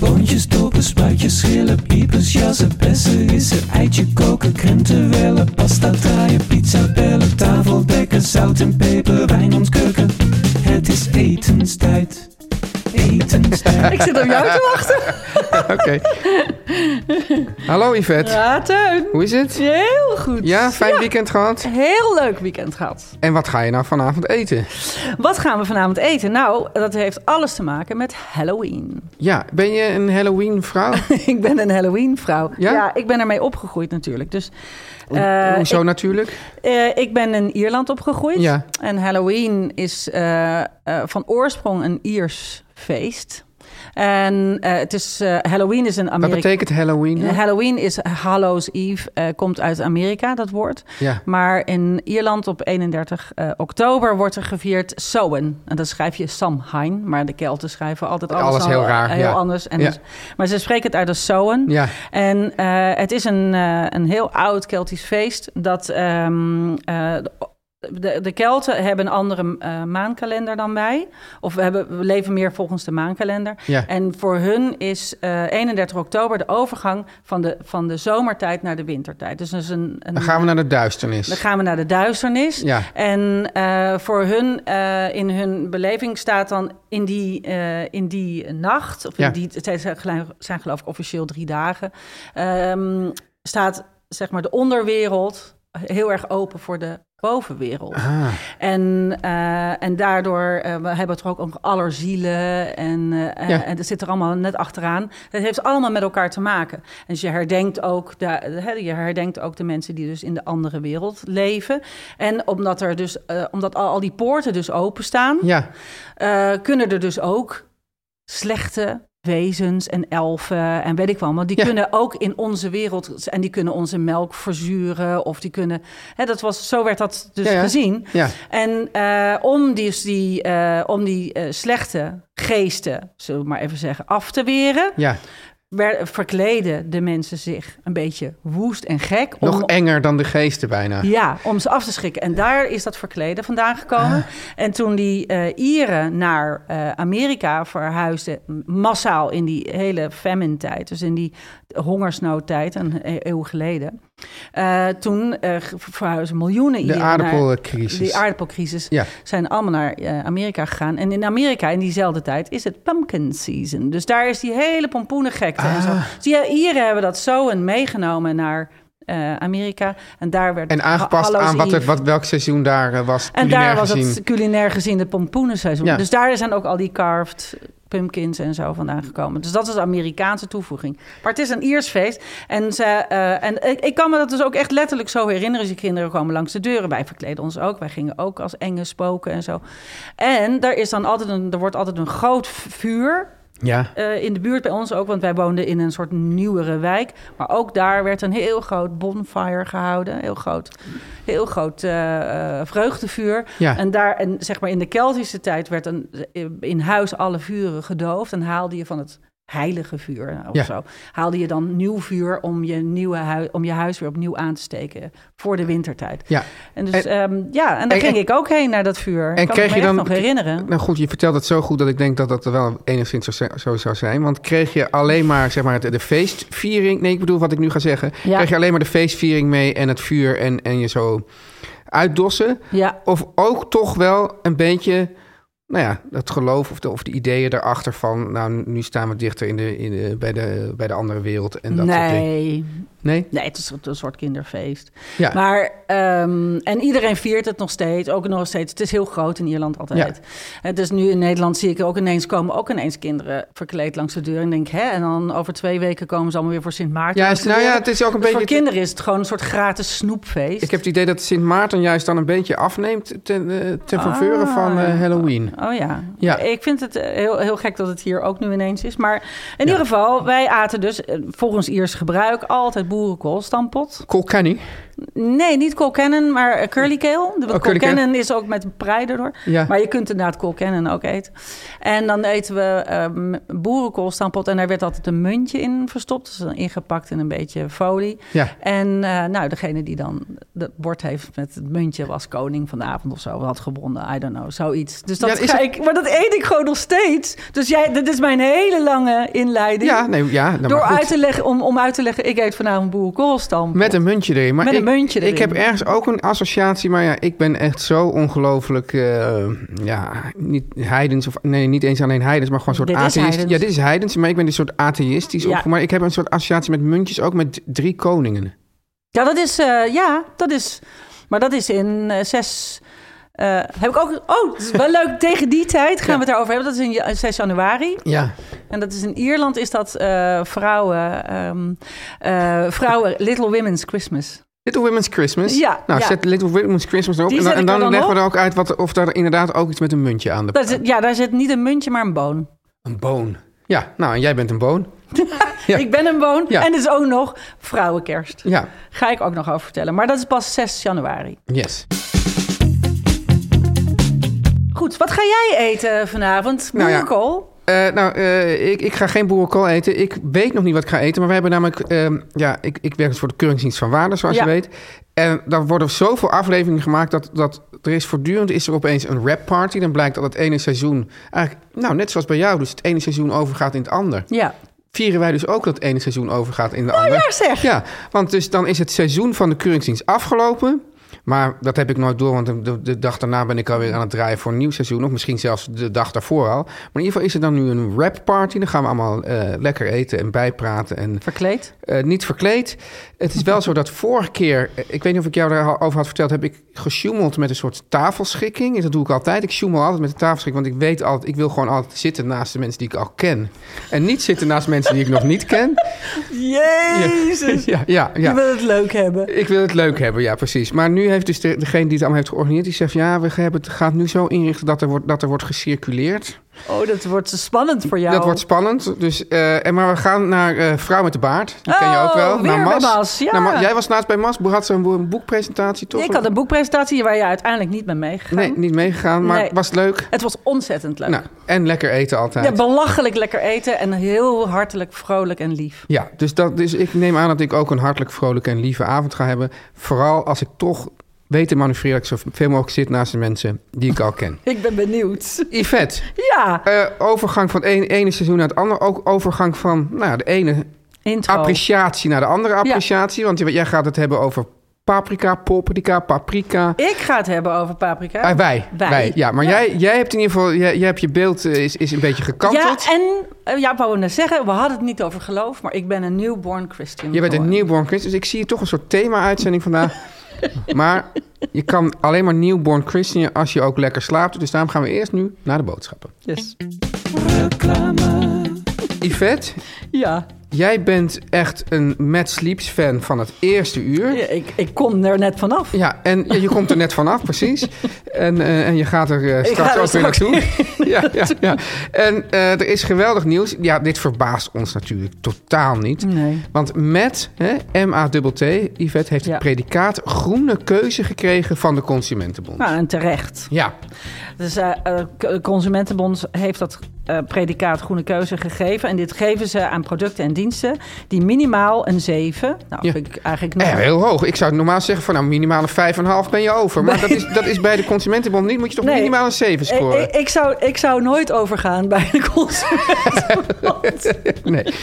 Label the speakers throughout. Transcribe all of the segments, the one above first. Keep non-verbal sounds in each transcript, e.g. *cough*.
Speaker 1: Boontjes, dopen, spuitjes, schillen, piepers, jassen, bessen, rissen, eitje koken, krenten wellen, pasta draaien, pizza bellen, tafel dekken, zout en peper, wijn ontkurken. Het is etenstijd, etenstijd.
Speaker 2: Ik zit op jou te wachten.
Speaker 3: Oké. Hallo Yvette,
Speaker 2: Ja, Teun.
Speaker 3: hoe is het?
Speaker 2: Heel goed.
Speaker 3: Ja, fijn weekend gehad.
Speaker 2: Heel leuk weekend gehad.
Speaker 3: En wat ga je nou vanavond eten?
Speaker 2: Wat gaan we vanavond eten? Nou, dat heeft alles te maken met Halloween. *laughs*
Speaker 3: Ja, ben je een Halloween vrouw?
Speaker 2: ik ben een Halloween-vrouw.
Speaker 3: Ja?
Speaker 2: ik ben ermee opgegroeid natuurlijk. Dus eh,
Speaker 3: Hoezo natuurlijk?
Speaker 2: eh, ik ben in Ierland opgegroeid.
Speaker 3: Ja.
Speaker 2: En Halloween is eh, eh, van oorsprong een Iers feest. En eh, het is, eh, Halloween is een
Speaker 3: Wat
Speaker 2: Amerika...
Speaker 3: betekent Halloween?
Speaker 2: Eh, Halloween is Hallows Eve, eh, komt uit Amerika, dat woord.
Speaker 3: Ja.
Speaker 2: Maar in Ierland op 31 eh, oktober wordt er gevierd Samhain. En dan schrijf je Samhain, maar de Kelten schrijven altijd alles,
Speaker 3: Alles
Speaker 2: al- eh,
Speaker 3: heel raar,
Speaker 2: heel
Speaker 3: ja.
Speaker 2: anders. En
Speaker 3: Ja.
Speaker 2: dus- maar ze spreken het uit als Samhain.
Speaker 3: Ja.
Speaker 2: En eh, het is een, eh, een heel oud Keltisch feest dat... ehm, eh, de, de Kelten hebben een andere eh, maankalender dan wij. Of we, hebben, we leven meer volgens de maankalender.
Speaker 3: Ja.
Speaker 2: En voor hun is eh, 31 oktober de overgang van de, van de zomertijd naar de wintertijd. Dus dat is een, een,
Speaker 3: Dan gaan we naar de
Speaker 2: dan
Speaker 3: duisternis.
Speaker 2: gaan we naar de duisternis.
Speaker 3: Ja.
Speaker 2: En eh, voor hun, eh, in hun beleving staat dan in die, eh, in die nacht, of
Speaker 3: Ja.
Speaker 2: in die, het zijn, gelu- zijn geloof ik officieel drie dagen, ehm, staat zeg maar de onderwereld heel erg open voor de bovenwereld.
Speaker 3: Ah.
Speaker 2: En, eh, en daardoor, eh, we hebben het er ook over allerzielen en, eh,
Speaker 3: Ja.
Speaker 2: en dat zit er allemaal net achteraan. Dat heeft allemaal met elkaar te maken. En dus je herdenkt ook de, hè, je herdenkt ook de mensen die dus in de andere wereld leven. En omdat, er dus, eh, omdat al, al die poorten dus openstaan,
Speaker 3: Ja,
Speaker 2: eh, kunnen er dus ook slechte wezens en elfen en weet ik wel. Maar die
Speaker 3: Ja.
Speaker 2: kunnen ook in onze wereld... en die kunnen onze melk verzuren of die kunnen... Hè, dat was, zo werd dat dus
Speaker 3: Ja, ja.
Speaker 2: gezien.
Speaker 3: ja.
Speaker 2: En eh, om die, die, eh, om die eh, slechte geesten, zullen we maar even zeggen, af te weren...
Speaker 3: ja.
Speaker 2: wer- verkleden de mensen zich een beetje woest en gek... om-
Speaker 3: Nog enger dan de geesten bijna.
Speaker 2: ja, om ze af te schrikken. En daar is dat verkleden vandaan gekomen.
Speaker 3: Ah.
Speaker 2: En toen die eh, Ieren naar eh, Amerika verhuisden, massaal in die hele famine-tijd, dus in die hongersnoodtijd, een e- eeuw geleden, eh, toen eh, ge- verhuisden miljoenen
Speaker 3: De
Speaker 2: Ieren. naar-
Speaker 3: aardappelcrisis.
Speaker 2: Die aardappelcrisis
Speaker 3: Ja.
Speaker 2: zijn allemaal naar eh, Amerika gegaan. En in Amerika in diezelfde tijd is het pumpkin season. Dus daar is die hele pompoenengekte en
Speaker 3: Ah.
Speaker 2: zo. Dus die Ieren hebben dat zo en meegenomen naar eh, Amerika. En daar werd
Speaker 3: En
Speaker 2: het
Speaker 3: aangepast
Speaker 2: Hallows
Speaker 3: aan wat, er,
Speaker 2: Eve.
Speaker 3: wat welk seizoen daar eh, was.
Speaker 2: En
Speaker 3: culinair
Speaker 2: daar was
Speaker 3: gezien.
Speaker 2: het culinair gezien het pompoenenseizoen.
Speaker 3: Ja.
Speaker 2: Dus daar zijn ook al die carved pumpkins en zo vandaan gekomen. Dus dat is de Amerikaanse toevoeging. Maar het is een Iers feest. En, ze, eh, en ik, ik kan me dat dus ook echt letterlijk zo herinneren. Dus die kinderen kwamen langs de deuren. Wij verkleden ons ook. Wij gingen ook als enge spoken en zo. En er, is dan altijd een, er wordt altijd een groot vuur
Speaker 3: Ja.
Speaker 2: eh, in de buurt bij ons ook, want wij woonden in een soort nieuwere wijk. Maar ook daar werd een heel groot bonfire gehouden. Heel groot, heel groot eh, eh, vreugdevuur.
Speaker 3: Ja.
Speaker 2: En daar, en zeg maar in de Keltische tijd, werd een, in huis alle vuren gedoofd. En haalde je van het heilige vuur nou, of
Speaker 3: Ja.
Speaker 2: zo. Haalde je dan nieuw vuur om je, nieuwe hui, om je huis weer opnieuw aan te steken voor de wintertijd.
Speaker 3: ja.
Speaker 2: En, dus,
Speaker 3: En-
Speaker 2: ehm, ja, en daar
Speaker 3: en-
Speaker 2: ging
Speaker 3: en-
Speaker 2: ik ook heen naar dat vuur.
Speaker 3: En
Speaker 2: kan
Speaker 3: kreeg
Speaker 2: ik me
Speaker 3: je
Speaker 2: echt
Speaker 3: dan-
Speaker 2: nog herinneren.
Speaker 3: Nou goed, je vertelt het zo goed dat ik denk dat dat er wel enigszins zo, zo zou zijn. Want kreeg je alleen maar, zeg maar de, de feestviering... Nee, ik bedoel wat ik nu ga zeggen.
Speaker 2: Ja.
Speaker 3: Kreeg je alleen maar de feestviering mee en het vuur en, en je zo uitdossen?
Speaker 2: Ja.
Speaker 3: Of ook toch wel een beetje nou ja, het geloof of de, of de ideeën daarachter van... nou, nu staan we dichter in de, in de, bij, de, bij de andere wereld en dat soort dingen.
Speaker 2: nee.
Speaker 3: Nee?
Speaker 2: nee, het is een- een soort kinderfeest.
Speaker 3: Ja.
Speaker 2: Maar, ehm, en iedereen viert het nog steeds, ook nog steeds. Het is heel groot in Ierland altijd. Eh, Dus nu in Nederland zie ik ook ineens komen ook ineens kinderen verkleed langs de deur. En denk, hè, en dan over twee weken komen ze allemaal weer voor Sint Maarten.
Speaker 3: Ja,
Speaker 2: langs de
Speaker 3: nou
Speaker 2: deur.
Speaker 3: ja, het is ook een
Speaker 2: Dus
Speaker 3: beetje-
Speaker 2: Voor kinderen is het gewoon een soort gratis snoepfeest.
Speaker 3: Ik heb het idee dat Sint Maarten juist dan een beetje afneemt ten, eh, ten faveur
Speaker 2: Ah,
Speaker 3: van eh,
Speaker 2: ja.
Speaker 3: Halloween.
Speaker 2: Oh ja.
Speaker 3: Ja.
Speaker 2: Ik vind het eh, heel, heel gek dat het hier ook nu ineens is. Maar in
Speaker 3: Ja.
Speaker 2: ieder geval, wij aten dus eh, volgens Iers gebruik altijd boerenkool, stampot.
Speaker 3: Colcanny.
Speaker 2: Nee, niet colcannon, maar eh, curlykale. De
Speaker 3: Oh, curlykale.
Speaker 2: colcannon is ook met prei erdoor.
Speaker 3: Ja.
Speaker 2: Maar je kunt inderdaad colcannon ook eten. En dan eten we ehm boerenkool, stampot. En daar werd altijd een muntje in verstopt. Dus dan ingepakt in een beetje folie.
Speaker 3: Ja.
Speaker 2: En eh, nou, degene die dan het bord heeft met het muntje... was koning van de avond of zo. Had gewonnen, I don't know, zoiets. Dus dat
Speaker 3: Ja, is
Speaker 2: ga
Speaker 3: het-
Speaker 2: ik, maar dat eet ik gewoon nog steeds. Dus jij, dit is mijn hele lange inleiding.
Speaker 3: Ja, nee, ja. nou,
Speaker 2: door
Speaker 3: maar goed.
Speaker 2: uit te leggen, om, om uit te leggen... ik eet vanavond boerenkoolstampot.
Speaker 3: Met een muntje erin. Maar
Speaker 2: Met een
Speaker 3: ik,
Speaker 2: muntje erin.
Speaker 3: Ik heb ergens ook een associatie, maar ja, ik ben echt zo ongelooflijk, eh, ja, niet heidens of nee, niet eens alleen heidens, maar gewoon een soort
Speaker 2: Dit is
Speaker 3: atheïst.
Speaker 2: heidens.
Speaker 3: Ja, dit is heidens, maar ik ben dus een soort atheïstisch.
Speaker 2: Ja.
Speaker 3: opge- Maar ik heb een soort associatie met muntjes, ook met d- drie koningen.
Speaker 2: Ja, dat is, eh, ja, dat is. Maar dat is in eh, zes. eh, heb ik ook. Oh, het is
Speaker 3: *laughs*
Speaker 2: wel leuk. Tegen die tijd gaan we het daarover hebben. Dat is in ja- 6 januari.
Speaker 3: Ja.
Speaker 2: En dat is in Ierland. Is dat eh, vrouwen. ehm, eh,
Speaker 3: *laughs*
Speaker 2: vrouwen. Little Women's Christmas.
Speaker 3: Little Women's Christmas.
Speaker 2: Ja,
Speaker 3: Nou,
Speaker 2: ja.
Speaker 3: zet Little Women's Christmas erop.
Speaker 2: Die
Speaker 3: en dan,
Speaker 2: zet
Speaker 3: en
Speaker 2: ik er
Speaker 3: dan
Speaker 2: dan
Speaker 3: leggen we
Speaker 2: op.
Speaker 3: er ook uit wat, of daar inderdaad ook iets met een muntje aan de
Speaker 2: Dat is, ja, daar zit niet een muntje, maar een boon.
Speaker 3: Een boon. Ja, nou, en jij bent een boon. Ja.
Speaker 2: Ik ben een boon.
Speaker 3: Ja.
Speaker 2: En het is ook nog Vrouwenkerst.
Speaker 3: Ja,
Speaker 2: Ga ik ook nog over vertellen. Maar dat is pas 6 januari.
Speaker 3: yes.
Speaker 2: Goed, wat ga jij eten vanavond?
Speaker 3: Nou ja.
Speaker 2: Boerenkool?
Speaker 3: Eh, nou, eh, ik, ik ga geen boerenkool eten. Ik weet nog niet wat ik ga eten. Maar we hebben namelijk... ehm, ja, ik, ik werk dus voor de Keuringsdienst van Waarde, zoals
Speaker 2: Ja.
Speaker 3: je weet. En daar worden zoveel afleveringen gemaakt... dat, dat er is voortdurend is er opeens een rap party. Dan blijkt dat het ene seizoen... Eigenlijk, nou, net zoals bij jou. Dus het ene seizoen overgaat in het ander.
Speaker 2: ja.
Speaker 3: Vieren wij dus ook dat het ene seizoen overgaat in de ander.
Speaker 2: Oh, ja, zeg.
Speaker 3: Ja, want dus dan is het seizoen van de Keuringsdienst afgelopen... Maar dat heb ik nooit door, want de- de, de dag daarna ben ik alweer aan het draaien voor een nieuw seizoen. Of misschien zelfs de dag daarvoor al. Maar in ieder geval is er dan nu een rap party. Dan gaan we allemaal eh, lekker eten en bijpraten en
Speaker 2: Verkleed.
Speaker 3: eh, niet verkleed. Het is wel zo dat vorige keer, eh, ik weet niet of ik jou daarover had verteld, heb ik gesjoemeld met een soort tafelschikking. En dat doe ik altijd. Ik sjoemel altijd met de tafelschikking, want ik weet altijd, ik wil gewoon altijd zitten naast de mensen die ik al ken. En niet zitten naast mensen die ik nog niet
Speaker 2: *laughs*
Speaker 3: ken.
Speaker 2: Jezus.
Speaker 3: Ja, ja, ja.
Speaker 2: Je wil het leuk hebben.
Speaker 3: Ik wil het leuk hebben, ja, precies. Maar nu heeft dus de- degene die het allemaal heeft georganiseerd... die zegt, ja, we hebben het, gaan het nu zo inrichten dat er wordt, dat er wordt gecirculeerd.
Speaker 2: Oh, dat wordt spannend voor jou.
Speaker 3: Dat wordt spannend. Dus, eh, en maar we gaan naar eh, Vrouw met de Baard. Die ken je
Speaker 2: Oh,
Speaker 3: ook wel.
Speaker 2: weer
Speaker 3: naar
Speaker 2: bij Mas, ja.
Speaker 3: Naar Ma- jij was laatst bij Mas. Had ze een bo- een boekpresentatie, toch?
Speaker 2: Ik had een boekpresentatie waar je uiteindelijk niet mee meegegaan.
Speaker 3: Nee, niet meegegaan, maar
Speaker 2: Nee.
Speaker 3: was het leuk.
Speaker 2: Het was ontzettend leuk.
Speaker 3: Nou, en lekker eten altijd.
Speaker 2: ja, belachelijk lekker eten en heel hartelijk, vrolijk en lief.
Speaker 3: Ja, dus, dat, dus ik neem aan dat ik ook een hartelijk vrolijke en lieve avond ga hebben. Vooral als ik toch weet te manoeuvreren... dat ik zoveel mogelijk zit naast de mensen die ik al
Speaker 2: *laughs*
Speaker 3: ken.
Speaker 2: Ik ben benieuwd.
Speaker 3: Yvette...
Speaker 2: Ja,
Speaker 3: Eh, overgang van het ene, ene seizoen naar het andere. Ook overgang van nou, de ene
Speaker 2: intro.
Speaker 3: appreciatie naar de andere appreciatie. Want jij gaat het hebben over paprika, paprika, paprika.
Speaker 2: Ik ga het hebben over paprika.
Speaker 3: Ah, wij, wij. Ja, maar Jij, jij hebt in ieder geval... Jij, jij hebt je beeld eh, is, is een beetje
Speaker 2: Ja,
Speaker 3: gekanteld.
Speaker 2: en eh, ja, ik wou net zeggen, we hadden het niet over geloof, maar ik ben een newborn Christian.
Speaker 3: Je bent een
Speaker 2: geworden.
Speaker 3: newborn Christ. Dus ik zie toch een soort thema-uitzending
Speaker 2: *laughs*
Speaker 3: vandaag. maar je kan alleen maar newborn Christian als je ook lekker slaapt. Dus daarom gaan we eerst nu naar de boodschappen.
Speaker 2: Yes.
Speaker 3: Yvette,
Speaker 2: Ja,
Speaker 3: jij bent echt een Mad Sleeps fan van het eerste uur.
Speaker 2: Ja, ik, ik kom er net vanaf.
Speaker 3: Ja, en ja, je komt er net vanaf, precies. En, eh, en je gaat er eh,
Speaker 2: ga
Speaker 3: straks
Speaker 2: er
Speaker 3: ook weer
Speaker 2: straks
Speaker 3: naartoe. *laughs* ja, ja, ja. En eh, er is geweldig nieuws. Ja, dit verbaast ons natuurlijk totaal niet.
Speaker 2: Nee.
Speaker 3: Want met hè, MA-T, Yvette, heeft
Speaker 2: Ja.
Speaker 3: het predicaat groene keuze gekregen van de
Speaker 2: Ah.
Speaker 3: Consumentenbond.
Speaker 2: Nou, en terecht.
Speaker 3: Ja,
Speaker 2: Dus eh, eh, Consumentenbond heeft dat eh, predicaat groene keuze gegeven. En dit geven ze aan producten en diensten die minimaal een 7. Nou,
Speaker 3: Ja.
Speaker 2: vind ik eigenlijk
Speaker 3: Eh,
Speaker 2: nog...
Speaker 3: heel hoog. Ik zou normaal zeggen van nou minimaal een 5,5 ben je over. Maar dat, is, dat is bij de Consumentenbond niet. Moet je toch
Speaker 2: Nee. Eh,
Speaker 3: minimaal een 7 scoren?
Speaker 2: Ik, ik, ik zou, ik zou nooit overgaan bij de consument.
Speaker 3: *laughs* nee.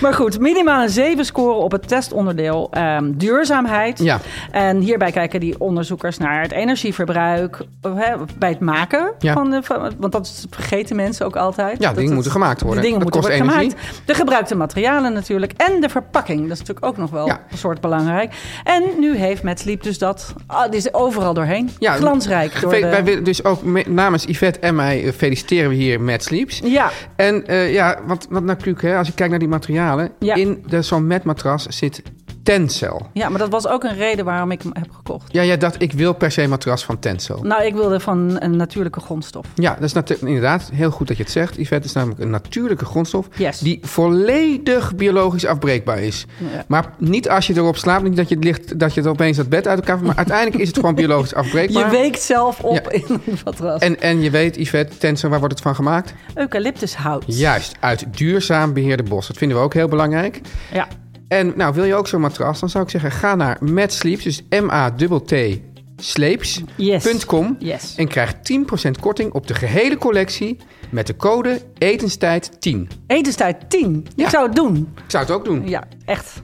Speaker 2: maar goed, minimaal een 7 scoren op het testonderdeel ehm, duurzaamheid.
Speaker 3: Ja.
Speaker 2: En hierbij kijken die onderzoekers naar het energieverbruik eh, hè, bij het maken.
Speaker 3: Ja.
Speaker 2: Van de, van- want dat vergeten mensen ook altijd.
Speaker 3: Ja,
Speaker 2: Dat
Speaker 3: dingen
Speaker 2: het-
Speaker 3: moeten gemaakt worden.
Speaker 2: De dingen
Speaker 3: Dat
Speaker 2: moeten
Speaker 3: kost
Speaker 2: worden
Speaker 3: energie.
Speaker 2: gemaakt. De gebruikte materialen natuurlijk. En de verpakking. Dat is natuurlijk ook nog wel
Speaker 3: Ja.
Speaker 2: een soort belangrijk. En nu heeft MedSleep dus dat. Ah, die is overal doorheen.
Speaker 3: *laughs*
Speaker 2: Glansrijk. Door
Speaker 3: Fe-
Speaker 2: de-
Speaker 3: Wij willen dus ook me- namens Yvette en mij eh, feliciteren we hier met Sleeps.
Speaker 2: ja.
Speaker 3: En eh, ja, wat, wat natuurlijk, hè, als ik kijk naar die materialen.
Speaker 2: Ja.
Speaker 3: In de- zo'n matmatras zit Tencel.
Speaker 2: Ja, maar dat was ook een reden waarom ik hem heb gekocht.
Speaker 3: Ja, ja, dat ik wil per se een matras van Tencel.
Speaker 2: Nou, ik wilde van een natuurlijke grondstof.
Speaker 3: Ja, dat is natu- inderdaad heel goed dat je het zegt. Yvette Het is namelijk een natuurlijke grondstof
Speaker 2: Yes.
Speaker 3: die volledig biologisch afbreekbaar is.
Speaker 2: Ja.
Speaker 3: Maar niet als je erop slaapt, niet dat je het, ligt, dat je het opeens dat bed uit elkaar...
Speaker 2: *laughs*
Speaker 3: Maar uiteindelijk is het gewoon biologisch afbreekbaar.
Speaker 2: Je weekt zelf op
Speaker 3: Ja.
Speaker 2: in een matras.
Speaker 3: en, en je weet, Yvette, Tencel, waar wordt het van gemaakt?
Speaker 2: Eucalyptushout.
Speaker 3: Juist, uit duurzaam beheerde bos. Dat vinden we ook heel belangrijk.
Speaker 2: Ja.
Speaker 3: En nou, wil je ook zo'n matras, dan zou ik zeggen, ga naar Mad Sleeps, dus M-A-T-T sleeps.com
Speaker 2: Yes.
Speaker 3: en krijg 10% korting op de gehele collectie met de code etenstijd10.
Speaker 2: Etenstijd 10.
Speaker 3: Ja.
Speaker 2: Ik zou het doen.
Speaker 3: Ik zou het ook doen.
Speaker 2: Ja, echt.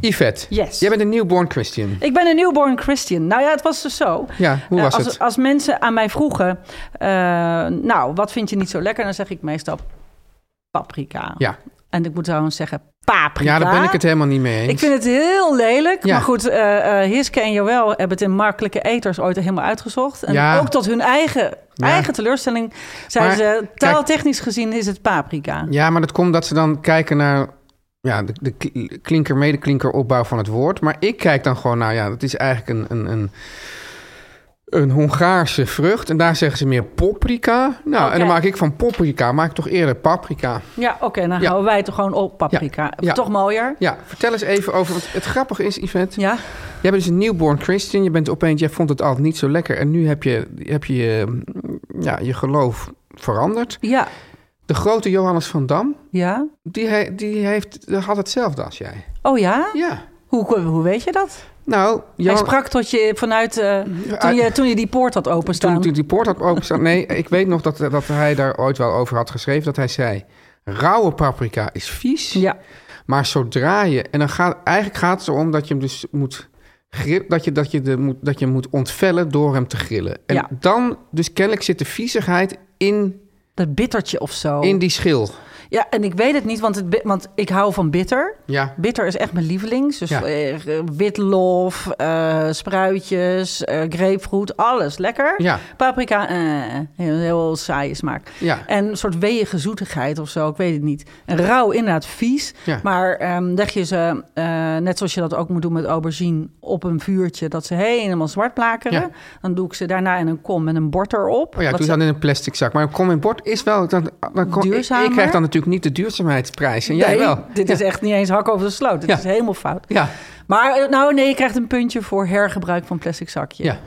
Speaker 3: Yvette,
Speaker 2: Yes.
Speaker 3: jij bent een newborn Christian.
Speaker 2: Ik ben een newborn Christian. Nou ja, het was dus zo.
Speaker 3: Ja, hoe
Speaker 2: Eh,
Speaker 3: was
Speaker 2: als,
Speaker 3: het?
Speaker 2: Als mensen aan mij vroegen, eh, nou, wat vind je niet zo lekker? Dan zeg ik meestal paprika.
Speaker 3: Ja.
Speaker 2: En ik moet trouwens zeggen paprika.
Speaker 3: ja, daar ben ik het helemaal niet mee eens.
Speaker 2: Ik vind het heel lelijk.
Speaker 3: Ja.
Speaker 2: Maar goed, eh, eh, Hiske en Joël hebben het in Markelijke Eters ooit helemaal uitgezocht. En
Speaker 3: Ja.
Speaker 2: ook tot hun eigen,
Speaker 3: Ja.
Speaker 2: eigen teleurstelling zeiden
Speaker 3: Maar,
Speaker 2: ze... taaltechnisch gezien is het paprika.
Speaker 3: Ja, maar dat komt dat ze dan kijken naar ja, de, de kl- klinker, medeklinker opbouw van het woord. Maar ik kijk dan gewoon, nou ja, dat is eigenlijk een, een, een, een Hongaarse vrucht. En daar zeggen ze meer paprika. Nou, en dan
Speaker 2: Oké.
Speaker 3: maak ik van paprika, maak ik toch eerder paprika.
Speaker 2: Ja, oké, dan
Speaker 3: Ja.
Speaker 2: houden wij het er gewoon op, paprika.
Speaker 3: Ja.
Speaker 2: Toch mooier?
Speaker 3: Ja, vertel eens even over, want het grappige is, Yvette,
Speaker 2: Ja,
Speaker 3: jij bent dus een newborn christian. Je bent opeens, jij vond het altijd niet zo lekker. En nu heb je heb je, je, ja, je geloof veranderd.
Speaker 2: ja,
Speaker 3: De grote Johannes van Dam,
Speaker 2: ja.
Speaker 3: die, he- die heeft, die had hetzelfde als jij.
Speaker 2: Oh ja?
Speaker 3: Ja.
Speaker 2: Hoe, hoe weet je dat?
Speaker 3: Nou,
Speaker 2: Hij
Speaker 3: Johan-
Speaker 2: sprak tot je vanuit... eh, toen, je, toen je die poort had openstaan.
Speaker 3: toen, toen die poort had openstaan... Nee, ik weet nog dat, dat hij daar ooit wel over had geschreven. Dat hij zei, rauwe paprika is vies.
Speaker 2: Ja,
Speaker 3: Maar zodra je... En dan gaat, eigenlijk gaat het erom dat je hem dus moet... gri- dat, je, dat, je de, moet, dat je hem moet ontvellen door hem te grillen. En
Speaker 2: Ja.
Speaker 3: dan, dus kennelijk zit de viezigheid in,
Speaker 2: dat bittertje of zo.
Speaker 3: in die schil.
Speaker 2: Ja, en ik weet het niet, want, het, bi- want ik hou van bitter.
Speaker 3: Ja.
Speaker 2: Bitter is echt mijn lievelings. Dus
Speaker 3: Ja.
Speaker 2: eh, witlof, eh, spruitjes, eh grapefruit, alles lekker.
Speaker 3: Ja.
Speaker 2: Paprika, eh, heel, heel saaie smaak.
Speaker 3: Ja.
Speaker 2: En een soort weeige zoetigheid of zo, ik weet het niet. En rauw inderdaad vies.
Speaker 3: Ja.
Speaker 2: Maar ehm leg je ze, eh, net zoals je dat ook moet doen met aubergine, op een vuurtje... dat ze helemaal zwart plakeren.
Speaker 3: Ja.
Speaker 2: Dan doe ik ze daarna in een kom met een bord erop.
Speaker 3: Oh ja, ik
Speaker 2: Wat
Speaker 3: doe
Speaker 2: ze-
Speaker 3: dan in een plastic zak. Maar een kom in bord is wel... Dan, dan kom, ik, ik
Speaker 2: Duurzamer?
Speaker 3: krijg dan natuurlijk niet de duurzaamheidsprijs. En jij
Speaker 2: Nee,
Speaker 3: wel.
Speaker 2: Dit is echt niet eens hak over de sloot. Dit
Speaker 3: Ja.
Speaker 2: is helemaal fout.
Speaker 3: Ja,
Speaker 2: Maar eh, nou nee, je krijgt een puntje voor hergebruik van plastic zakje.
Speaker 3: ja.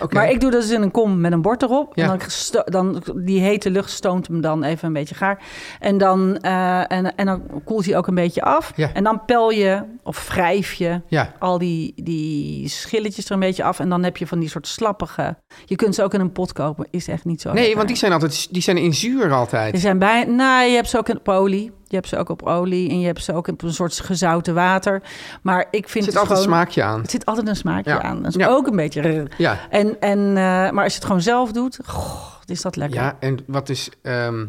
Speaker 3: Oké.
Speaker 2: Maar ik doe dat dus in een kom met een bord erop.
Speaker 3: Ja.
Speaker 2: En dan, sto- dan die hete lucht stoomt hem dan even een beetje gaar. En dan, eh, en, en dan koelt hij ook een beetje af.
Speaker 3: Ja.
Speaker 2: En dan pel je of wrijf je
Speaker 3: Ja.
Speaker 2: al die, die schilletjes er een beetje af. En dan heb je van die soort slappige. Je kunt ze ook in een pot kopen. Is echt niet zo.
Speaker 3: Nee,
Speaker 2: Oh, lekker.
Speaker 3: want die zijn altijd die zijn in zuur altijd.
Speaker 2: Die zijn bij, nou, je hebt ze ook in op olie. Je hebt ze ook op olie. En je hebt ze ook op een soort gezouten water. Maar ik
Speaker 3: Er
Speaker 2: vind
Speaker 3: zit
Speaker 2: het
Speaker 3: altijd een
Speaker 2: gewoon...
Speaker 3: smaakje aan.
Speaker 2: Het zit altijd een smaakje
Speaker 3: Ja.
Speaker 2: aan. Dat is
Speaker 3: Ja.
Speaker 2: ook een beetje... rrr.
Speaker 3: Ja.
Speaker 2: En, en, eh, maar als je het gewoon zelf doet, goh, is dat lekker.
Speaker 3: Ja, en wat is... ehm,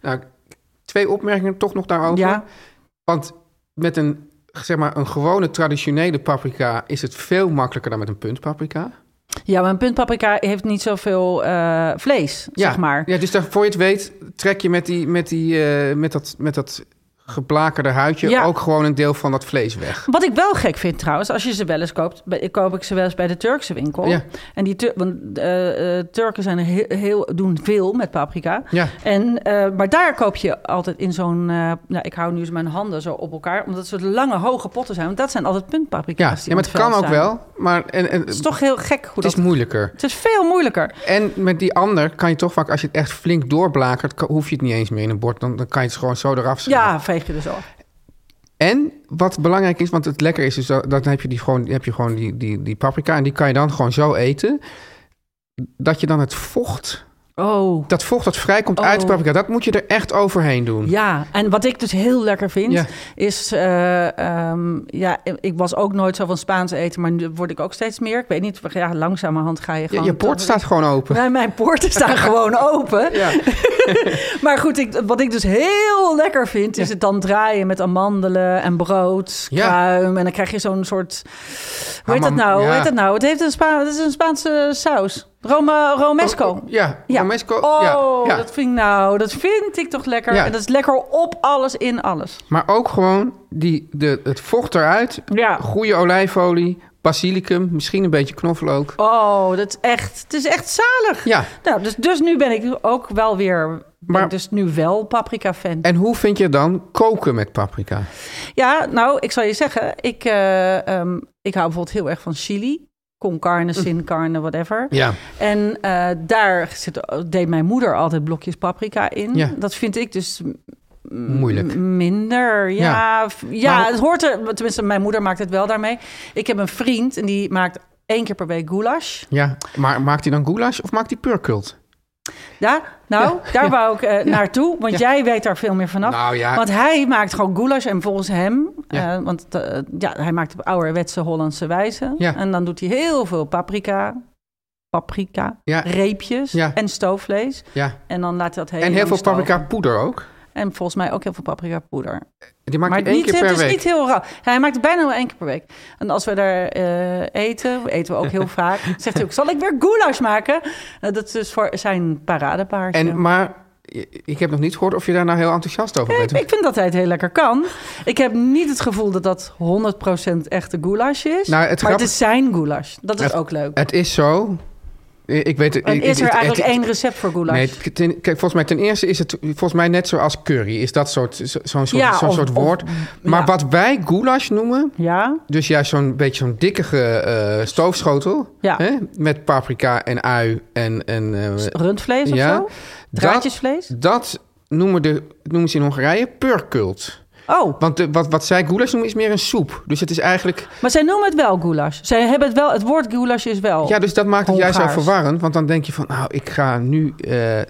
Speaker 3: nou, twee opmerkingen toch nog daarover.
Speaker 2: Ja.
Speaker 3: Want met een, zeg maar, een gewone traditionele paprika... is het veel makkelijker dan met een puntpaprika.
Speaker 2: Ja, maar een puntpaprika heeft niet zoveel eh, vlees,
Speaker 3: Ja,
Speaker 2: zeg maar.
Speaker 3: Ja, dus daar, voor je het weet trek je met, die, met, die, eh, met, dat, met dat geblakerde huidje
Speaker 2: Ja.
Speaker 3: ook gewoon een deel van dat vlees weg.
Speaker 2: Wat ik wel gek vind trouwens, als je ze wel eens koopt, bij- ik koop ik ze wel eens bij de Turkse winkel.
Speaker 3: Ja.
Speaker 2: En die Tur- want, eh, eh, Turken zijn er heel, heel, doen veel met paprika.
Speaker 3: Ja.
Speaker 2: En, eh, maar daar koop je altijd in zo'n. eh, nou, ik hou nu eens mijn handen zo op elkaar, omdat ze lange, hoge potten zijn. Want dat zijn altijd puntpaprika's.
Speaker 3: Ja,
Speaker 2: die
Speaker 3: ja
Speaker 2: in
Speaker 3: maar het kan
Speaker 2: veld
Speaker 3: ook
Speaker 2: staan.
Speaker 3: wel. Maar en, en,
Speaker 2: Het is toch heel gek hoe
Speaker 3: het is
Speaker 2: dat.
Speaker 3: moeilijker.
Speaker 2: Het is veel moeilijker.
Speaker 3: En met die ander kan je toch vaak, als je het echt flink doorbladert, ka- hoef je het niet eens meer in een bord. Dan, dan kan je het gewoon zo eraf schudden.
Speaker 2: Ja, veeg je dus al.
Speaker 3: En wat belangrijk is, want het lekker is, dus dat, dan heb je, die gewoon, heb je gewoon die, die, die paprika en die kan je dan gewoon zo eten. Dat je dan het vocht,
Speaker 2: Oh.
Speaker 3: dat vocht dat vrijkomt uit de
Speaker 2: Oh.
Speaker 3: paprika, dat moet je er echt overheen doen.
Speaker 2: Ja, en wat ik dus heel lekker vind,
Speaker 3: Hm. Ja.
Speaker 2: is... eh, ehm, ja, ik was ook nooit zo van Spaans eten, maar nu word ik ook steeds meer. Ik weet niet, ja, langzamerhand ga je
Speaker 3: Je,
Speaker 2: gewoon...
Speaker 3: je port staat gewoon open.
Speaker 2: Nee, mijn poorten
Speaker 3: *laughs*
Speaker 2: staan gewoon open.
Speaker 3: Ja.
Speaker 2: *laughs* Maar goed, ik, wat ik dus heel lekker vind, is het dan draaien met amandelen en brood,
Speaker 3: Ja.
Speaker 2: kruim. En dan krijg je zo'n soort... Hoe heet dat
Speaker 3: Hamam,
Speaker 2: nou?
Speaker 3: ja.
Speaker 2: Hoe heet dat nou? Het, heeft een Spa het is een Spaanse saus. Roma, Romesco.
Speaker 3: Oh, oh, ja, Romesco,
Speaker 2: Oh,
Speaker 3: ja, ja.
Speaker 2: dat vind ik nou, dat vind ik toch lekker.
Speaker 3: Ja.
Speaker 2: En dat is lekker op alles, in alles.
Speaker 3: Maar ook gewoon die, de, het vocht eruit,
Speaker 2: Ja.
Speaker 3: goede olijfolie, basilicum, misschien een beetje knoflook.
Speaker 2: Oh, dat is echt, het is echt zalig.
Speaker 3: Ja,
Speaker 2: Nou, dus, dus nu ben ik ook wel weer, ben
Speaker 3: Maar-
Speaker 2: ik dus nu wel paprika-fan.
Speaker 3: en hoe vind je dan koken met paprika?
Speaker 2: Ja, nou, ik zal je zeggen, ik, eh, ehm, ik hou bijvoorbeeld heel erg van chili. Con carne, sin carne, whatever.
Speaker 3: Mm. Ja.
Speaker 2: En eh, daar zit, deed mijn moeder altijd blokjes paprika in.
Speaker 3: Ja.
Speaker 2: Dat vind ik dus
Speaker 3: Moeilijk.
Speaker 2: M- Minder, ja.
Speaker 3: Ja.
Speaker 2: Ja,
Speaker 3: Maar hoe-
Speaker 2: het hoort er. Tenminste, mijn moeder maakt het wel daarmee. Ik heb een vriend en die maakt één keer per week goulash.
Speaker 3: Ja, maar maakt hij dan goulash of maakt hij purkult?
Speaker 2: Ja, nou, daar wou ik eh, naartoe. Want jij weet daar veel meer vanaf.
Speaker 3: Nou ja.
Speaker 2: Want hij maakt gewoon goulash. En volgens hem...
Speaker 3: Ja.
Speaker 2: eh, want eh, ja, hij maakt op ouderwetse Hollandse wijze.
Speaker 3: Ja.
Speaker 2: En dan doet hij heel veel paprika... Paprika,
Speaker 3: Ja.
Speaker 2: reepjes
Speaker 3: Ja.
Speaker 2: en stoofvlees.
Speaker 3: Ja.
Speaker 2: En dan laat hij dat heel
Speaker 3: En heel
Speaker 2: lang
Speaker 3: veel
Speaker 2: stoven.
Speaker 3: paprika poeder ook.
Speaker 2: En volgens mij ook heel veel paprika poeder.
Speaker 3: Die maakt
Speaker 2: Maar
Speaker 3: hij één
Speaker 2: niet,
Speaker 3: keer
Speaker 2: het
Speaker 3: per
Speaker 2: is
Speaker 3: week.
Speaker 2: niet heel rauw. Hij maakt het bijna wel één keer per week. En als we daar eh, eten, eten we ook
Speaker 3: *laughs*
Speaker 2: heel vaak. Zegt hij ook, zal ik weer goulash maken? Eh, dat is dus voor zijn paradepaardje.
Speaker 3: En, maar ik heb nog niet gehoord of je daar nou heel enthousiast over
Speaker 2: Ik,
Speaker 3: bent.
Speaker 2: ik vind dat hij het heel lekker kan. Ik heb niet het gevoel dat dat 100% echte goulash is.
Speaker 3: Nou,
Speaker 2: maar
Speaker 3: het grappige-
Speaker 2: het is zijn goulash. Dat is
Speaker 3: Het-
Speaker 2: ook leuk.
Speaker 3: Het is zo. Ik ik weet het.
Speaker 2: en
Speaker 3: ik-
Speaker 2: is er
Speaker 3: het-
Speaker 2: eigenlijk
Speaker 3: het-
Speaker 2: één recept voor goulash?
Speaker 3: Nee, het- ten- kijk, volgens mij ten eerste is het volgens mij net zoals curry. Is dat soort, zo- zo'n soort,
Speaker 2: Ja,
Speaker 3: zo'n
Speaker 2: of-
Speaker 3: soort
Speaker 2: of-
Speaker 3: woord. maar
Speaker 2: ja.
Speaker 3: wat wij goulash noemen,
Speaker 2: Ja?
Speaker 3: dus juist zo'n beetje zo'n dikkige eh, stoofschotel.
Speaker 2: Ja.
Speaker 3: Hè? Met paprika en ui en... en eh,
Speaker 2: Rundvlees of
Speaker 3: ja.
Speaker 2: zo?
Speaker 3: Dat-
Speaker 2: Draadjesvlees?
Speaker 3: Dat noemen, de, noemen ze in Hongarije purkult.
Speaker 2: Oh,
Speaker 3: Want de- wat, wat zij goulash noemen is meer een soep. Dus het is eigenlijk...
Speaker 2: maar zij noemen het wel goulash. Zij hebben het wel, het woord goulash is wel.
Speaker 3: ja, dus dat maakt het juist zo
Speaker 2: Oh, Hongaars.
Speaker 3: verwarrend. Want dan denk je van, nou, ik ga nu... eh,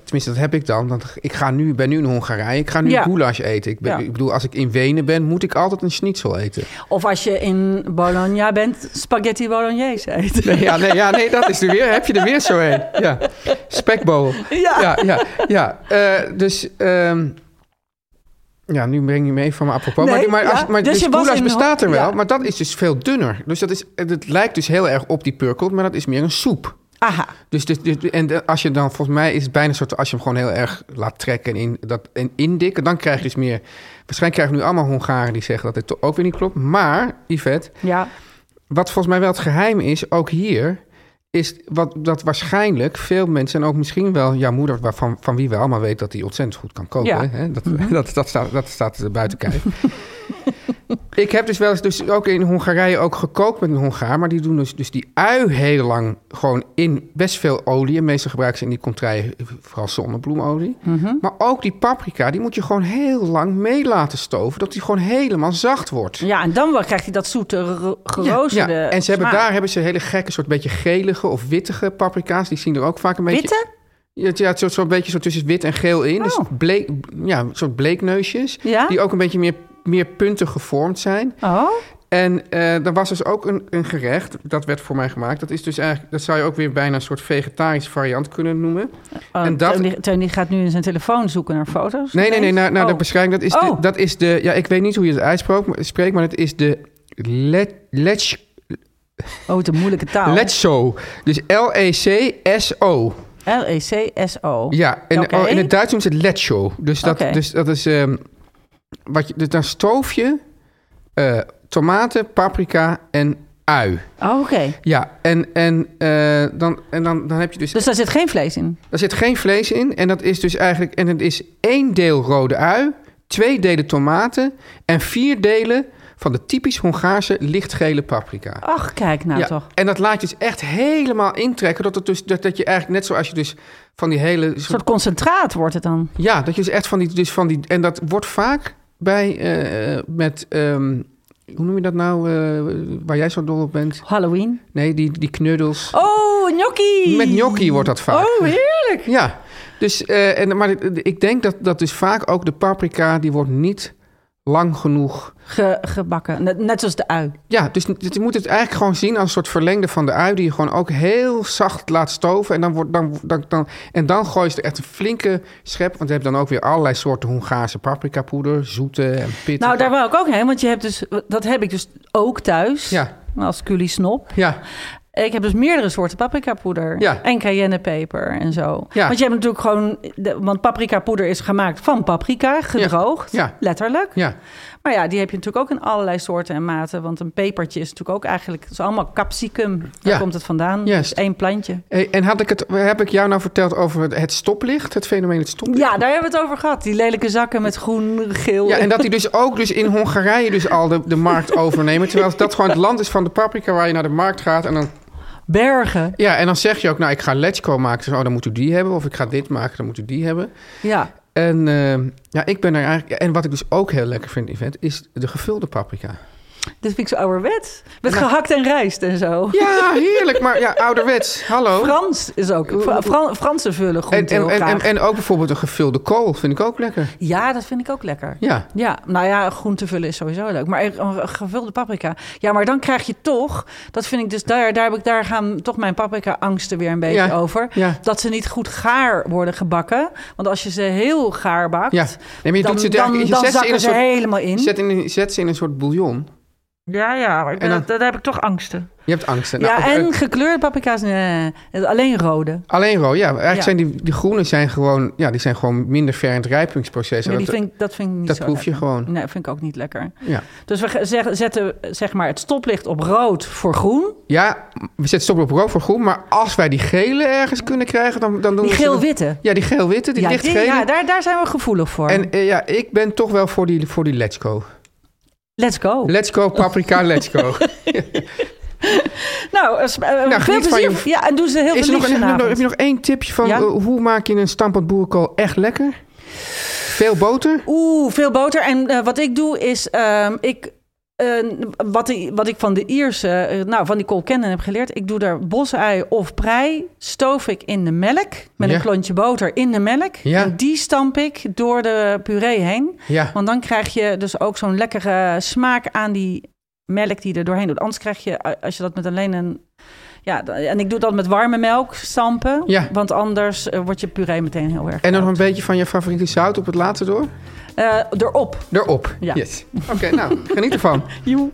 Speaker 3: tenminste, dat heb ik dan. Want ik ga nu, ben nu in Hongarije. Ik ga nu
Speaker 2: Ja.
Speaker 3: goulash eten. Ik, ben-
Speaker 2: Ja.
Speaker 3: ik bedoel, als ik in Wenen ben, moet ik altijd een
Speaker 2: *laughs*
Speaker 3: schnitzel eten.
Speaker 2: Of als je in Bologna bent, spaghetti bolognese eet.
Speaker 3: Nee, ja, nee, ja, nee dat is er weer. Heb je er weer zo heen? Ja. Spekbowl.
Speaker 2: *laughs* Ja.
Speaker 3: Ja, ja, ja. Eh, dus... ehm, ja, nu breng je me even van me apropos.
Speaker 2: Nee,
Speaker 3: maar, maar, als,
Speaker 2: ja.
Speaker 3: maar
Speaker 2: Dus
Speaker 3: dus
Speaker 2: je was
Speaker 3: goulash
Speaker 2: in-
Speaker 3: bestaat er wel,
Speaker 2: ja.
Speaker 3: maar dat is dus veel dunner. Dus dat is, het lijkt dus heel erg op die purkel, maar dat is meer een soep.
Speaker 2: Aha.
Speaker 3: Dus, dus, dus- en de- als je dan, volgens mij is het bijna een soort, als je hem gewoon heel erg laat trekken en, in, dat, en indikken, dan krijg je dus meer. Waarschijnlijk krijgen we nu allemaal Hongaren die zeggen dat het toch ook weer niet klopt. Maar, Yvette,
Speaker 2: Ja.
Speaker 3: wat volgens mij wel het geheim is, ook hier, is wat, dat waarschijnlijk veel mensen, en ook misschien wel jouw moeder, waarvan, van wie we allemaal weten dat hij ontzettend goed kan koken.
Speaker 2: Ja.
Speaker 3: Hè? Dat, *laughs* dat, dat, staat, dat staat er buiten kijf. *laughs* Ik heb dus wel eens, dus ook in Hongarije, ook gekookt met een Hongaar. Maar die doen dus, dus die ui heel lang gewoon in best veel olie. En meestal gebruiken ze in die contraien vooral zonnebloemolie. Maar ook die paprika, die moet je gewoon heel lang mee laten stoven. Dat die gewoon helemaal zacht wordt.
Speaker 2: ja, en dan wel krijgt hij dat zoete, ro- geroosterde
Speaker 3: Ja, en ze hebben,
Speaker 2: smaak.
Speaker 3: daar hebben ze hele gekke, soort beetje gelige of wittige paprika's. Die zien er ook vaak een beetje...
Speaker 2: Witte?
Speaker 3: Ja, het- ja, het soort zo'n beetje zo tussen wit en geel in. Dus
Speaker 2: Oh.
Speaker 3: bleek, ja, een soort bleekneusjes.
Speaker 2: Ja?
Speaker 3: Die ook een beetje meer, meer puntig gevormd zijn.
Speaker 2: Oh,
Speaker 3: En eh er was dus ook een, een gerecht, dat werd voor mij gemaakt. Dat is dus eigenlijk, dat zou je ook weer bijna een soort vegetarisch variant kunnen noemen. en dat,
Speaker 2: Teun, die, Teun die Oh, gaat nu in zijn telefoon zoeken naar foto's.
Speaker 3: nee, nee, nee,
Speaker 2: ineens.
Speaker 3: nou, nou
Speaker 2: Oh.
Speaker 3: dat beschrijving, dat is, de,
Speaker 2: Oh.
Speaker 3: dat is de, ja, ik weet niet hoe je het uitspreekt, maar, spreekt, maar het is de let, let's
Speaker 2: Oh, het is een moeilijke taal.
Speaker 3: Leco. Dus L-E-C-S-O.
Speaker 2: L-E-C-S-O.
Speaker 3: Ja, en
Speaker 2: Oké.
Speaker 3: oh, in het Duits noemt ze het Leco. Dus dat,
Speaker 2: Oké.
Speaker 3: dus dat is... ehm, Wat je, dus daar stoof je eh, tomaten, paprika en ui.
Speaker 2: Oh, oké.
Speaker 3: Ja, en, en, eh, dan, en dan, dan heb je dus...
Speaker 2: Dus daar zit geen vlees in.
Speaker 3: Daar zit geen vlees in. En dat is dus eigenlijk... En het is één deel rode ui, twee delen tomaten... en vier delen van de typisch Hongaarse lichtgele paprika.
Speaker 2: Ach, kijk nou toch.
Speaker 3: En dat laat je dus echt helemaal intrekken. Dat, het dus, dat, dat je eigenlijk net zoals je dus van die hele...
Speaker 2: Een soort concentraat wordt het dan.
Speaker 3: Ja, dat je dus echt van die, dus van die... En dat wordt vaak bij... eh, eh, met... ehm, hoe noem je dat nou? eh, waar jij zo dol op bent?
Speaker 2: Halloween.
Speaker 3: Nee, die, die knuddels.
Speaker 2: Oh, gnocchi!
Speaker 3: Met gnocchi wordt dat vaak.
Speaker 2: Oh, heerlijk.
Speaker 3: Ja, dus, eh, en, maar ik- ik denk dat, dat dus vaak ook de paprika, die wordt niet lang genoeg.
Speaker 2: Ge- gebakken. Net, net zoals de ui.
Speaker 3: Ja, dus n- je moet het eigenlijk gewoon zien als een soort verlengde van de ui, die je gewoon ook heel zacht laat stoven. En dan, wordt, dan, dan, dan, en dan gooi je er echt een flinke schep, want je hebt dan ook weer allerlei soorten Hongaarse paprikapoeder, zoete en pittige.
Speaker 2: Nou, daar wou ik ook heen, want je hebt dus, dat heb ik dus ook thuis.
Speaker 3: Ja.
Speaker 2: Als culisnop.
Speaker 3: Ja,
Speaker 2: Ik heb dus meerdere soorten paprikapoeder.
Speaker 3: Ja.
Speaker 2: En cayennepeper en zo.
Speaker 3: Ja.
Speaker 2: Want je hebt natuurlijk gewoon... De, want paprikapoeder is gemaakt van paprika, gedroogd.
Speaker 3: Ja.
Speaker 2: Letterlijk.
Speaker 3: ja.
Speaker 2: Maar ja, die heb je natuurlijk ook in allerlei soorten en maten. Want een pepertje is natuurlijk ook eigenlijk... Het is allemaal capsicum. Daar
Speaker 3: Ja.
Speaker 2: komt het vandaan.
Speaker 3: Juist.
Speaker 2: Dus één plantje.
Speaker 3: Hey, en had ik het, heb ik jou nou verteld over het- het stoplicht, het fenomeen het stoplicht?
Speaker 2: Ja, daar hebben we het over gehad. Die lelijke zakken met groen, geel.
Speaker 3: Ja, en dat die dus ook dus in Hongarije dus al de, de markt *laughs* overnemen. Terwijl dat gewoon het land is van de paprika waar je naar de markt gaat. En dan,
Speaker 2: Bergen.
Speaker 3: ja, en dan zeg je ook, nou, ik ga Letchko maken. Dus, oh, dan moet u die hebben. Of ik ga dit maken, dan moet u die hebben.
Speaker 2: Ja.
Speaker 3: En eh, ja, ik ben er eigenlijk... ja, En wat ik dus ook heel lekker vind, Yvette, is de gevulde paprika.
Speaker 2: Dit vind ik zo ouderwets. Met gehakt en rijst en zo.
Speaker 3: Nou. Ja, heerlijk. Maar ja, ouderwets. Hallo.
Speaker 2: Frans is ook. Fra- Fra- Fransen vullen groenten
Speaker 3: en, en,
Speaker 2: heel
Speaker 3: en, en,
Speaker 2: graag.
Speaker 3: en ook bijvoorbeeld een gevulde kool vind ik ook lekker.
Speaker 2: ja, dat vind ik ook lekker.
Speaker 3: Ja.
Speaker 2: Ja, nou ja, groente vullen is sowieso leuk. Maar een gevulde paprika. Ja, maar dan krijg je toch... Dat vind ik dus... Daar, daar, heb ik, daar gaan toch mijn paprika-angsten weer een beetje
Speaker 3: Ja,
Speaker 2: over.
Speaker 3: ja.
Speaker 2: Dat ze niet goed gaar worden gebakken. Want als je ze heel gaar bakt...
Speaker 3: Ja. Nee, maar je
Speaker 2: dan,
Speaker 3: doet ze
Speaker 2: dan,
Speaker 3: eigenlijk- je
Speaker 2: dan
Speaker 3: zet ze in
Speaker 2: zakken
Speaker 3: een
Speaker 2: ze
Speaker 3: soort-
Speaker 2: helemaal in.
Speaker 3: Zet, in, een- zet ze in een soort bouillon.
Speaker 2: Ja, ja, maar
Speaker 3: En dan-
Speaker 2: daar heb ik toch angsten.
Speaker 3: Je hebt angst. hè?
Speaker 2: ja,
Speaker 3: Nou,
Speaker 2: en
Speaker 3: eh,
Speaker 2: gekleurde paprika's, nee, alleen rode.
Speaker 3: Alleen rood, ja. Eigenlijk
Speaker 2: Ja.
Speaker 3: zijn die, die groene zijn gewoon, ja, die zijn gewoon minder ver in het rijpingsproces.
Speaker 2: Nee,
Speaker 3: En
Speaker 2: die
Speaker 3: dat-
Speaker 2: vind ik, dat vind ik niet
Speaker 3: dat
Speaker 2: zo
Speaker 3: proef je
Speaker 2: lekker.
Speaker 3: gewoon.
Speaker 2: Nee, vind ik ook niet lekker.
Speaker 3: ja.
Speaker 2: Dus we ge- zeg- zetten eh, zeg maar, het stoplicht op rood voor groen.
Speaker 3: ja, we zetten stop op rood voor groen. Maar als wij die gele ergens kunnen krijgen, dan, dan doen
Speaker 2: Die
Speaker 3: we... ze-
Speaker 2: geel-witte.
Speaker 3: Ja, die geel-witte, die
Speaker 2: ja, die-
Speaker 3: lichtgele.
Speaker 2: ja daar, daar zijn we gevoelig voor.
Speaker 3: En eh, ja, ik ben toch wel voor die, voor die Let's Go.
Speaker 2: Let's go.
Speaker 3: Let's Go,
Speaker 2: *laughs*
Speaker 3: paprika, Let's Go.
Speaker 2: nou, eh, sp- eh, veel
Speaker 3: geniet van
Speaker 2: plezier.
Speaker 3: je-
Speaker 2: Ja, en doen ze heel
Speaker 3: Is er
Speaker 2: veel liefst
Speaker 3: nog een, heb, je nog,
Speaker 2: vanavond.
Speaker 3: heb je nog één tipje van
Speaker 2: Ja?
Speaker 3: eh, hoe maak je een stampend boerenkool echt lekker? Veel boter?
Speaker 2: Oeh, veel boter. En eh, wat ik doe is, ehm, ik, eh, wat, ik- wat ik van de Ierse, eh, nou van die Colcannon heb geleerd, ik doe daar bosei of prei, stoof ik in de melk met
Speaker 3: Ja.
Speaker 2: een klontje boter in de melk.
Speaker 3: Ja.
Speaker 2: En die stamp ik door de puree heen.
Speaker 3: Ja.
Speaker 2: Want dan krijg je dus ook zo'n lekkere smaak aan die melk die er doorheen doet. Anders krijg je, eh, als je dat met alleen een... Ja, d- en ik doe dat met warme melk stampen.
Speaker 3: Ja.
Speaker 2: Want anders eh, wordt je puree meteen heel erg.
Speaker 3: En nog een beetje van je favoriete zout op het laatste door?
Speaker 2: Eh, erop.
Speaker 3: Erop.
Speaker 2: Ja.
Speaker 3: Yes. Oké, nou, geniet ervan.
Speaker 2: Joe.